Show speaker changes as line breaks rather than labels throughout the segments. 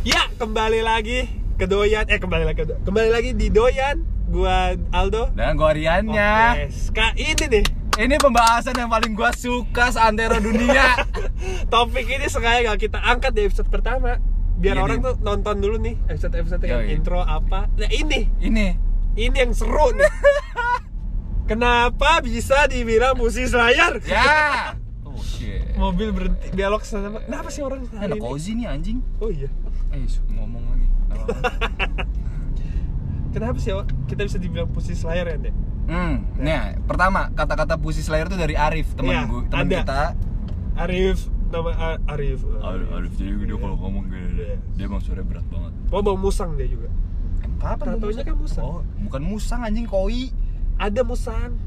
Ya, kembali lagi ke Doyan eh kembali lagi ke Do- kembali lagi di Doyan gua Aldo
Dan gua Riannya.
Oke, ska- ini nih
Ini pembahasan yang paling gua suka seantero dunia.
topik ini sengaja gak kita angkat di episode pertama biar
Iya,
orang
nih.
tuh nonton dulu nih episode episode yang
Yoi.
intro apa nah ini
Ini
ini yang seru nih kenapa bisa dibilang musisi selayar
ya. Oh shit.
mobil berhenti belok sana kenapa sih orang
Ada
hari ini
cozy nih anjing.
oh iya
Eh, su- ngomong lagi. Nggak apa-apa.
kenapa sih o- kita bisa dibilang musisi selayar ya Nek?
Hmm, nah, pertama kata-kata puisi slayer itu dari Arif, temen
Ya. Iya,
gua, temen
ada.
kita.
Arif nama Ar- Arif
ngomong
Iya.
dia emang suaranya berat banget.
Oh, bau musang dia juga.
Apa
Tatonya kan musang.
Oh, bukan musang anjing koi.
Ada musang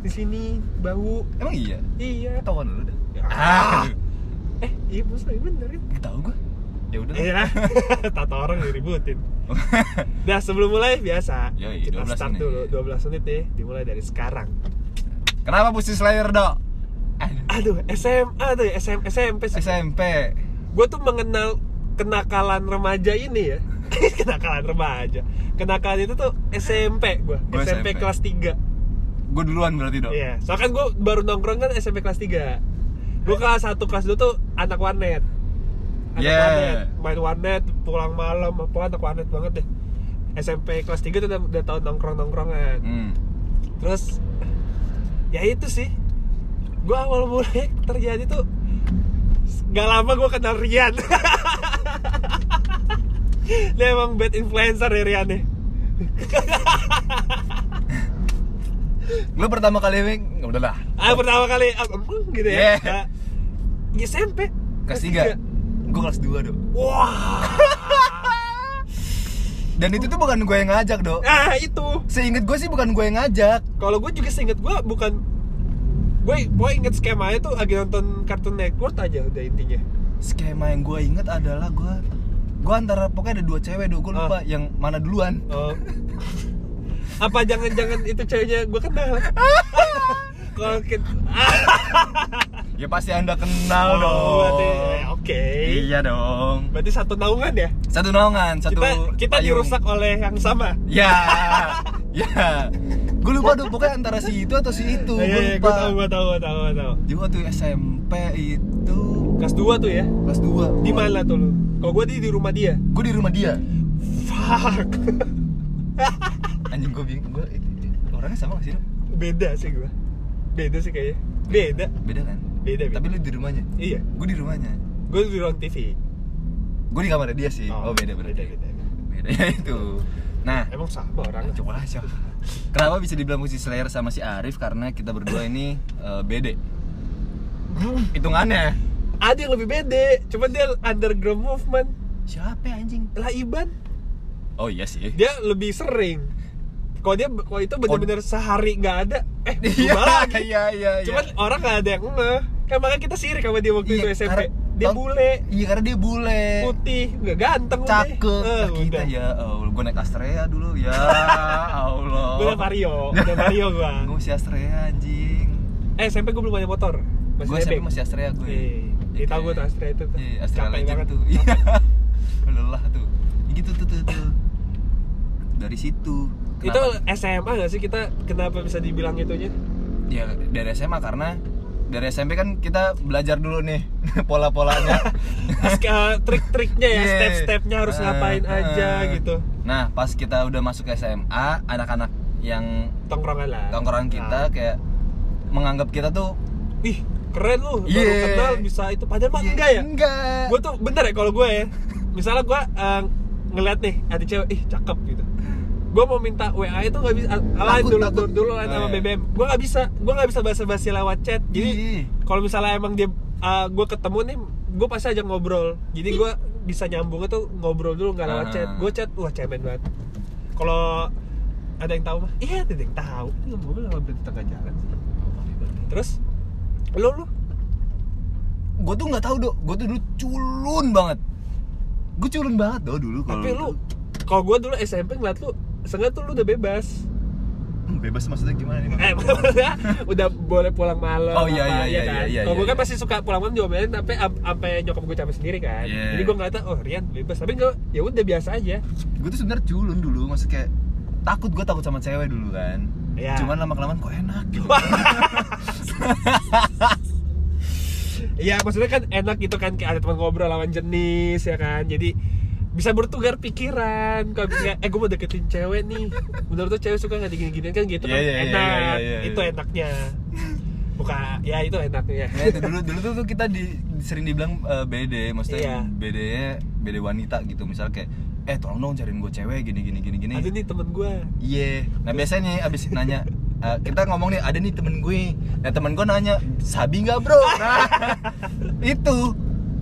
di sini bau.
Emang iya.
Iya.
Ketahuan lu dah.
Ah. Eh, iya musang iya bener ya.
Tahu gua. Ya udah.
Iya. Tato orang diributin. Nah, sebelum mulai biasa
Yoi,
kita
12
start
menit.
dulu 12 menit nih, dimulai dari sekarang.
Kenapa puisi slayer, Dok?
Aduh, SMA tuh ya, SM, SMP sih.
SMP.
Gue tuh mengenal kenakalan remaja ini ya. kenakalan remaja. Kenakalan itu tuh SMP gua,
Gua
SMP,
SMP.
kelas 3.
Gue duluan berarti, Dok.
Iya, soalnya kan gue baru nongkrong kan SMP kelas 3 Gue kelas 1, kelas 2 tuh anak warnet Anak
Yeah.
warnet, main warnet, pulang malam, apa anak warnet banget deh SMP kelas 3 tuh udah, udah tau nongkrong-nongkrongan
Hmm.
Terus, ya itu sih Gue awal mulai terjadi tuh Gak lama gue kenal Rian Dia emang bad influencer ya Rian nih
Lu pertama kali Ya ini udah lah.
Ah pertama kali, ah, mm, gitu ya
Yeah.
Ah, SMP
Kelas 3. Gue kelas 2, Dok.
Wah.
Dan itu tuh bukan gue yang ngajak, Dok.
Ah, itu.
Seinget gue sih bukan gue yang ngajak.
Kalau gue juga seinget gue bukan gue gue inget skemanya tuh lagi nonton kartun network aja udah intinya
Skema yang gue inget adalah gue gue antara pokoknya ada dua cewek, Dok. Gue
Ah.
lupa yang mana duluan.
oh. apa jangan-jangan itu ceweknya gue kenal kalau kita
Ya pasti Anda
Oh,
kenal, Dok.
berarti eh, oke
Iya, dong.
berarti satu naungan ya
Satu naungan, satu
kita kita
payung.
dirusak oleh yang sama
Ya. Ya. Gue lupa dong pokoknya antara si itu atau si itu.
iya iya, gue
Gue
tahu
lupa.
gue tahu gue tahu gue tahu
Jadi waktu SMP itu
kelas 2 tuh ya
kelas 2
di mana tuh lu kalau gue di di rumah dia
Gue di rumah dia
fuck
Anjing gue bingung Gue orangnya sama gak sih? Dok?
beda sih gue beda sih kayaknya beda
Beda kan?
beda beda
Tapi lu di rumahnya
iya
Gue di rumahnya
gue di ruang TV
Gue di kamarnya dia sih Oh, beda berarti
beda, beda.
Beda ya itu Nah
emang sama orang
Coba aja Kenapa bisa dibilang musisi Slayer sama si Arif? Karena kita berdua ini eh, bede Hitungannya
ada yang lebih beda cuman dia underground movement
Siapa ya, anjing?
lah Iban
Oh iya sih
dia lebih sering kalau dia kalau itu bener-bener sehari nggak ada eh
Oh. Iya,
berubah lagi
iya, iya, iya.
cuman orang nggak ada yang ngeh kan makanya kita sirik sama dia waktu
Iya,
itu SMP
karena-
dia
tau-
bule
Iya karena dia bule
putih nggak ganteng udah.
cakep
Eh,
Nah, kita
udah.
ya Allah gue naik Astrea dulu ya Allah
Gua udah Vario, udah Vario gua.
gue masih Astrea anjing
eh SMP gue belum punya motor masih
gue SMP
nebeng.
masih Astrea gue
Iya, iya. Iya, tahu gua tuh Astrea itu tuh.
iya Astrea
Capek
Legend
banget.
tuh iya lelah tuh gitu tuh tuh tuh dari situ
itu
Kenapa?
SMA nggak sih kita kenapa bisa dibilang itunya
ya dari SMA karena dari SMP kan kita belajar dulu nih pola-polanya
Aska- trik-triknya ya,
Iya.
step-stepnya harus
Eh,
ngapain
eh.
aja gitu.
nah pas kita udah masuk SMA anak-anak yang
Tongkrongan lah.
tongkrongan kita
Nah.
kayak menganggap kita tuh
Ah. Ih, keren lu. Baru
Iya.
kenal bisa itu padahal mah
Iya,
enggak ya.
enggak
Gue tuh bener ya kalau gue ya. Misalnya gue eh, ngeliat nih ada cewek, ih cakep gitu. Gue mau minta WA itu nggak bisa, lain
Takut,
dulu
takut.
dulu, dulu lain sama
Iya.
BBM. Gue nggak bisa, gue nggak bisa basa-basi lewat chat. Jadi
Iya.
kalau misalnya emang dia gue ketemu nih, gue pasti ajak ngobrol. Jadi gue bisa nyambungnya tuh ngobrol dulu nggak lewat
Ah.
chat. Gue chat, wah cemen banget. Kalau ada yang tahu mah, iya ada yang tahu. Ini mobil lama berhenti tengah jalan sih. Terus, lo lo,
gue tuh nggak tahu dok gue tuh dulu culun banget gue culun banget dok dulu kalau gitu.
tapi lu, kalau gue dulu SMP ngeliat lu, sengaja tuh lu udah bebas.
"Hmm, bebas maksudnya gimana nih Bang?"
eh maksudnya udah boleh pulang malam
Oh, iya,
apa,
iya, iya,
kan?
iya, iya,
kalau gue
iya.
kan pasti suka pulang malam diomelin tapi am- sampai nyokap gue capek sendiri kan
Iya.
jadi gue ngeliatnya oh Rian bebas tapi gue ya udah biasa aja
gue tuh sebenarnya culun dulu maksud kayak takut gue takut sama cewek dulu kan
Iya.
cuman lama kelamaan kok enak gitu
Iya maksudnya kan enak gitu kan kayak ada teman ngobrol lawan jenis ya kan jadi bisa bertukar pikiran kalau misalnya eh gue mau deketin cewek nih menurut tuh cewek suka nggak digini-giniin kan gitu
Iya,
kan
iya, iya,
enak
iya, iya, iya.
itu enaknya buka ya itu enaknya
ya itu dulu dulu tuh kita di, sering dibilang eh, BD
Iya.
maksudnya BD nya BD wanita gitu misal kayak eh tolong dong cariin gue cewek gini gini gini gini
ada nih temen gue
Iya. Nah biasanya nih abis nanya eh, kita ngomong nih ada nih temen gue. Nah temen gue nanya sabi nggak bro? Nah, itu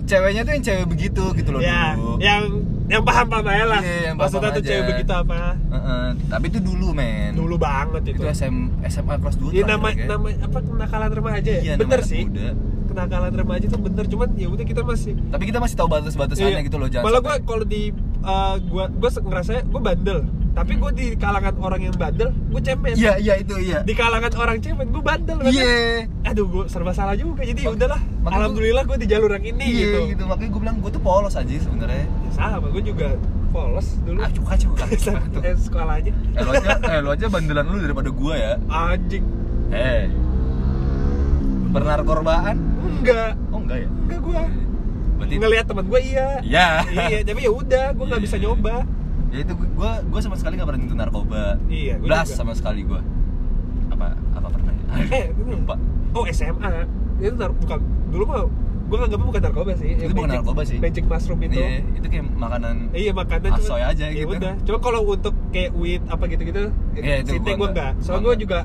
ceweknya tuh yang cewek begitu gitu loh
ya
dulu.
yang yang paham paham aja lah
Iya, yang
maksudnya
paham-paham
tuh cewek
aja.
begitu apa
Heeh, tapi itu dulu men.
dulu banget itu,
Itu kan? SM, SMA kelas 2
ya nama nama apa kenakalan remaja ya
Iya,
bener sih kenakalan remaja tuh bener cuman ya udah kita masih
Tapi kita masih tahu batas-batasannya
Iya.
gitu loh jangan.
Malah gue
sampai-
kalau di uh, gue gue ngerasa gue bandel. Tapi gue di kalangan orang yang bandel, gue cemen.
Iya iya itu iya.
Di kalangan orang cemen, gue bandel.
Iya.
banget. Aduh, gue serba salah juga. Jadi ya
Mak-
udahlah.
makanya gua-
Alhamdulillah gue di jalur yang ini
Iya
gitu.
gitu. Makanya gue bilang gue tuh polos aja sebenarnya.
Ya, sama, gue juga polos dulu.
Ah cuka cuka.
Eh, sekolahnya
eh lu aja eh lu aja bandelan lu daripada gua ya.
anjing
Eh. Bernarkorbaan?
enggak
Oh enggak ya.
enggak gue
Berarti
ngelihat teman gue iya
Iya.
iya tapi ya udah gue nggak bisa nyoba
Ya itu gua gua sama sekali nggak pernah nyentuh narkoba.
Iya, gua
Blas
juga.
sama sekali gua. Apa apa pernah ya?
Eh,
Aduh, lupa.
oh SMA itu nar bukan dulu mah gue nganggapnya bukan narkoba sih
Itu bukan narkoba sih.
magic mushroom itu
Iya, itu kayak makanan
Eh, Iya makanan cuman-
Asoy aja
ya
gitu.
Udah. Cuma kalau untuk kayak weed apa gitu-gitu,
Iya, itu
sinte
gua
gue
enggak.
enggak. Soalnya
Gua
gue juga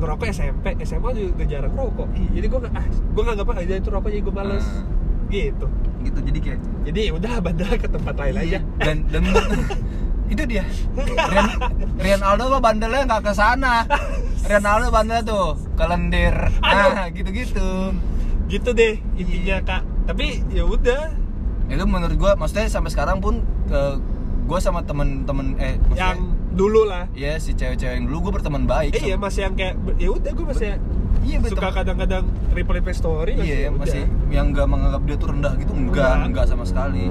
ngerokok SMP, SMA juga udah jarang rokok.
Iya. Ah.
Jadi gue nggak, ah, gue nggak apa aja itu rokok jadi gue males. Gitu.
eh, gitu jadi kayak
Jadi ya udah bandel ke tempat lain
iya.
aja.
dan dan itu dia Rian, Rian Aldo mah bandelnya nggak ke sana Rian Aldo bandelnya tuh kelendir nah gitu-gitu
Gitu deh intinya
Iya.
kak. Tapi ya udah.
itu menurut gua maksudnya sampai sekarang pun eh, gua sama temen-temen eh maksudnya-
Yang dulu lah.
Iya si cewek-cewek yang dulu gue berteman baik.
Eh, iya
sama-
masih yang kayak ya udah gue masih
Iya betul.
suka kadang-kadang triple play story
Iya
ya udah.
masih yang nggak menganggap dia tuh rendah gitu enggak
Enggak.
enggak sama sekali.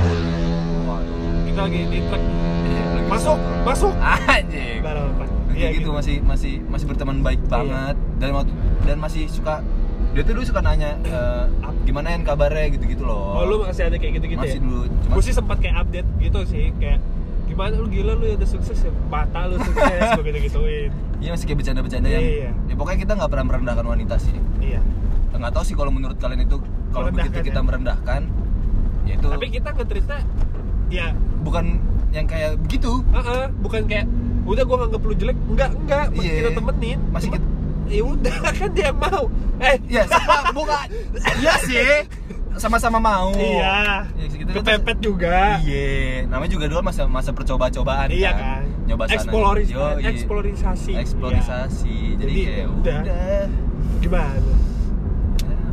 Waduh.
kita lagi di track
Iya, lagi
masuk
sama-
masuk
Anjing.
Nggak apa-apa.
Kayak
Iya,
gitu, masih masih masih berteman baik banget dan waktu- dan masih suka dia tuh dulu suka nanya eh,
Apa?
gimana yang kabarnya gitu-gitu loh.
Oh lu masih ada kayak gitu-gitu
masih
ya?
dulu cuma
Gue sih sempat kayak update gitu sih Kayak gimana lu gila lu udah sukses ya Mata lu sukses gue gitu-gituin
iya masih kayak bercanda-bercanda yang
Iya.
ya pokoknya kita nggak pernah merendahkan wanita sih.
Iya
nggak tahu sih kalau menurut kalian itu kalau begitu
Merendahkan
kita
ya?
merendahkan ya itu
Tapi kita nge-treatnya Ya
bukan yang kayak begitu
eh, eh, bukan kayak udah gue nganggep lu jelek Enggak, enggak Masih
Iya.
kita temenin
Masih
Cuma, Ya udah kan dia yang mau Eh
ya sama bukan iya sih sama-sama mau
Iya
Ya, gitu.
Kepepet juga
iya namanya juga dulu masa masa percoba-cobaan
Iya kan
nyoba sana
Eksploris-
Yoi.
eksplorisasi. Iya.
eksplorisasi jadi,
Jadi,
kayak
udah.
udah, Ya,
Gimana?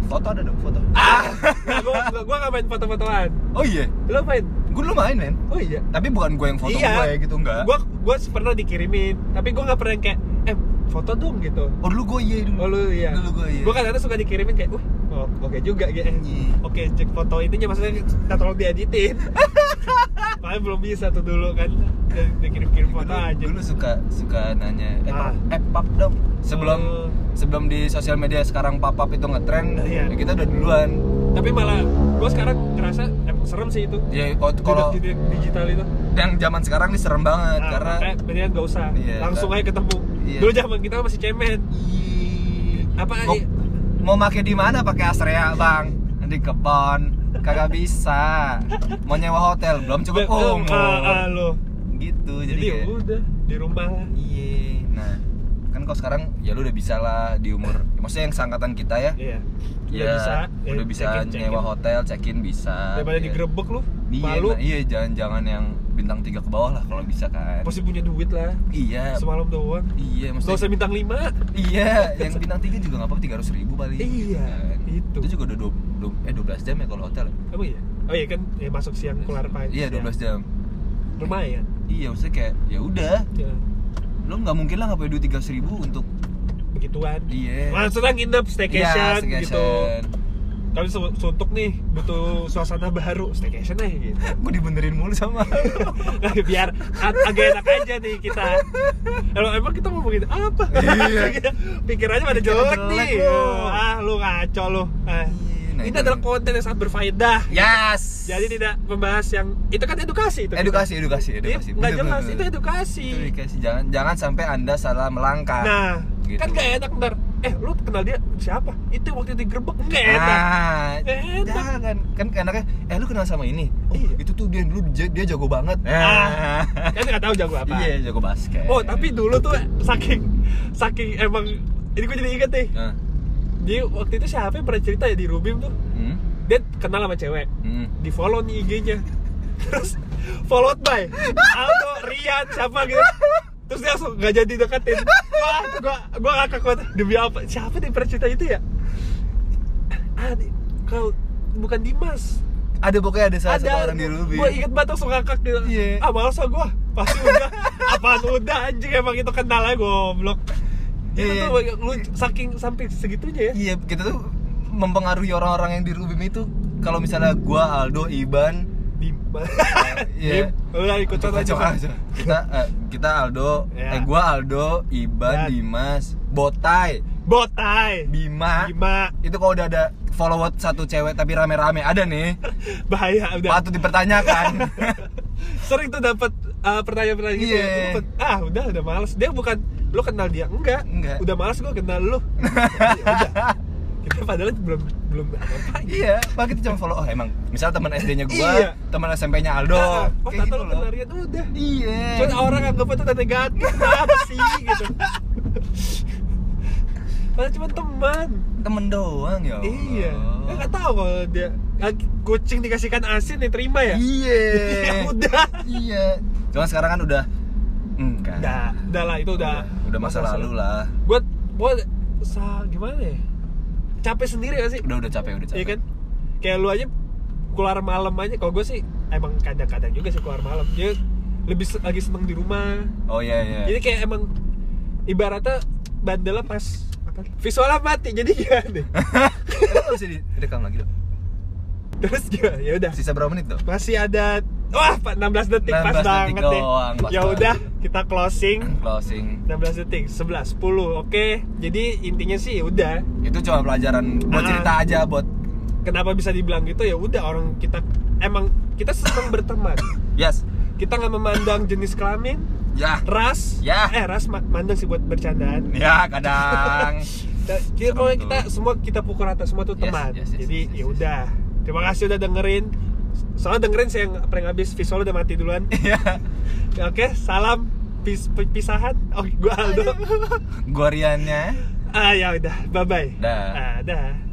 foto ada dong foto
Ah, nah, gue gua gak main foto-fotoan
oh iya
Lu main?
gue dulu main men
Oh iya
tapi bukan gue yang foto gue gitu enggak
Gua gua pernah dikirimin, tapi gua nggak pernah yang kayak eh foto dong gitu.
oh dulu gue iya dulu
Oh lu iya.
dulu gue iya
Gua kadang suka dikirimin kayak, "Wih, oh, oke juga gitu. Eh,
Iya.
Oke, cek foto itunya maksudnya kita tolong dieditin. Makanya belum bisa tuh dulu kan. Dan Dikirim-kirim foto
dulu,
aja.
dulu suka suka nanya eh,
Ah.
pap- eh pap dong sebelum
Oh.
sebelum di sosial media sekarang pap pap itu ngetren
Iya.
ya kita udah duluan
Tapi malah gua sekarang ngerasa emang serem sih itu.
ya kalau- kalau
Di- di- di- digital itu.
yang zaman sekarang nih serem banget
Nah,
Ah, karena
makanya mendingan nggak usah.
Iya,
Langsung aja ketemu.
Iya.
Dulu zaman kita kan masih cemen.
Ih,
Apa
mau, mau make di mana pakai Astrea bang di kebon kagak bisa mau nyewa hotel belum cukup
Oh, ah, ah,
umur
lo.
gitu jadi,
Jadi, ya
kayak-
udah di rumah lah.
iya nah kan kalau sekarang ya lu udah bisa lah di umur ya, maksudnya yang seangkatan kita ya
Iya.
Iya,
Udah bisa, ya,
udah bisa
check-in, check-in.
nyewa hotel, check-in bisa.
Daripada
Iya.
digerebek lu,
Iya,
malu.
nah, iya jangan-jangan yang bintang 3 ke bawah lah kalau bisa kan.
Pasti punya duit lah.
iya.
Semalam doang.
Iya,
Gak
maksudnya.
usah bintang 5.
Iya, yang bintang 3 juga nggak apa-apa 300 ribu paling.
Iya,
kan.
itu.
Itu juga udah 12, eh 12 jam ya kalau hotel. ya?
Apa ya? Oh iya kan ya masuk siang keluar pagi. Iya.
Iya, 12 jam.
Lumayan.
Iya, maksudnya kayak ya udah,
Ya.
lo nggak mungkin lah ngapain duit tiga ribu untuk
begituan
Iya.
maksudnya nginep staycation,
Iya,
gitu
staycation.
kami su- suntuk nih butuh suasana baru staycation aja gitu
Gua dibenerin mulu sama lo.
Nah, biar ag- agak enak aja nih kita kalau emang kita ngomongin apa Gitu.
Iya.
pikirannya pada
Pikiran
jelek
jelek
nih
lu.
ah lu ngaco lu ah.
Iya,
ini
nah itu
adalah
nih.
konten yang sangat berfaedah
yes
jadi tidak membahas yang itu kan edukasi itu
edukasi edukasi
edukasi
edukasi
Iya, nggak
Bener,
jelas
bener,
itu
bener.
edukasi
Itu edukasi jangan jangan sampai anda salah melangkah
nah
Gitu.
kan gak enak ntar eh lu kenal dia siapa itu waktu digerebek nggak enak
Ah,
Enak.
jangan kan enaknya eh lu kenal sama ini oh,
Iya.
itu tuh dia dulu dia, dia jago banget Nah.
Ah. kan nggak tahu jago apa
iya jago basket
oh tapi dulu tuh saking saking emang ini gue jadi inget nih
Nah.
dia waktu itu siapa yang pernah cerita ya di Rubim tuh
Hmm.
dia kenal sama cewek
Hmm.
di follow nih IG-nya terus followed by Aldo, Rian, siapa gitu terus dia langsung gak jadi deketin wah itu gua gua ngakak banget demi apa siapa nih pernah cerita itu ya ah di- kau bukan Dimas
ada pokoknya ada salah satu orang di
gua-
Ruby
gua inget banget langsung ngakak gitu
Iya.
ah males ah gua pasti udah apaan udah anjing emang itu kenal aja goblok itu
Iya.
tuh lu saking sampai segitunya ya
iya kita tuh mempengaruhi orang-orang yang di Rubim itu kalau misalnya gua Aldo Iban
Dimas
Iya.
Dim, lu lah ikut
Coba,
aja
coba, coba. kita eh, kita Aldo
Ya.
eh gua Aldo Iban
Dan.
Dimas Botai
botai
Bima
Bima
itu kalau udah ada follower satu cewek tapi rame-rame ada nih
bahaya udah
patut dipertanyakan
sering tuh dapat uh, pertanyaan-pertanyaan gitu
Iya.
ya. Lu pen- ah udah udah males dia bukan lu kenal dia enggak
Enggak.
udah males gua kenal lu Ya udah. kita padahal belum belum apa
iya pak kita cuma follow oh emang misal teman SD nya gua
Iya.
teman SMP nya Aldo
Ah, oh tante
kayak gitu
lu
loh
kenal Rian udah
iya
Cuman orang anggap itu tante gatot apa sih gitu padahal cuma teman
temen doang ya Allah.
iya ya, nggak tahu kalau dia ah, kucing dikasihkan asin diterima ya
iya
ya udah
iya cuma sekarang kan udah enggak
udah udah lah itu udah
udah masa lalu lah
gue gue sa gimana ya capek sendiri gak sih
udah udah capek udah capek
iya kan kayak lu aja keluar malam aja kalau gue sih emang kadang-kadang juga sih keluar malam dia lebih se- lagi seneng di rumah
oh iya iya
jadi kayak emang ibaratnya bandelnya pas apa visualnya mati jadi gimana nih
Emang nggak bisa direkam lagi dong
terus gimana ya udah
sisa berapa menit dong
masih ada wah Pak, 16 detik pas
16 detik
banget nih
doang, pas
ya
banget.
udah kita closing
closing
16 detik 11 10 oke jadi intinya sih ya udah
itu cuma pelajaran buat
Ah.
cerita aja buat
kenapa bisa dibilang gitu ya udah orang kita emang kita senang berteman
yes
kita nggak memandang jenis kelamin
ya
ras
Ya.
eh ras ma- mandang sih buat bercandaan
ya kadang
Da- kita pokoknya
tuh.
kita semua kita pukul rata semua tuh
Yes,
teman
yes, yes,
jadi
yes, yes,
ya udah terima kasih udah dengerin soalnya dengerin saya yang prank habis visual udah mati duluan
ya
oke salam pis pi- pisahan oke gua Aldo
gua Riannya
ah ya udah bye bye
Dah.
ah, dah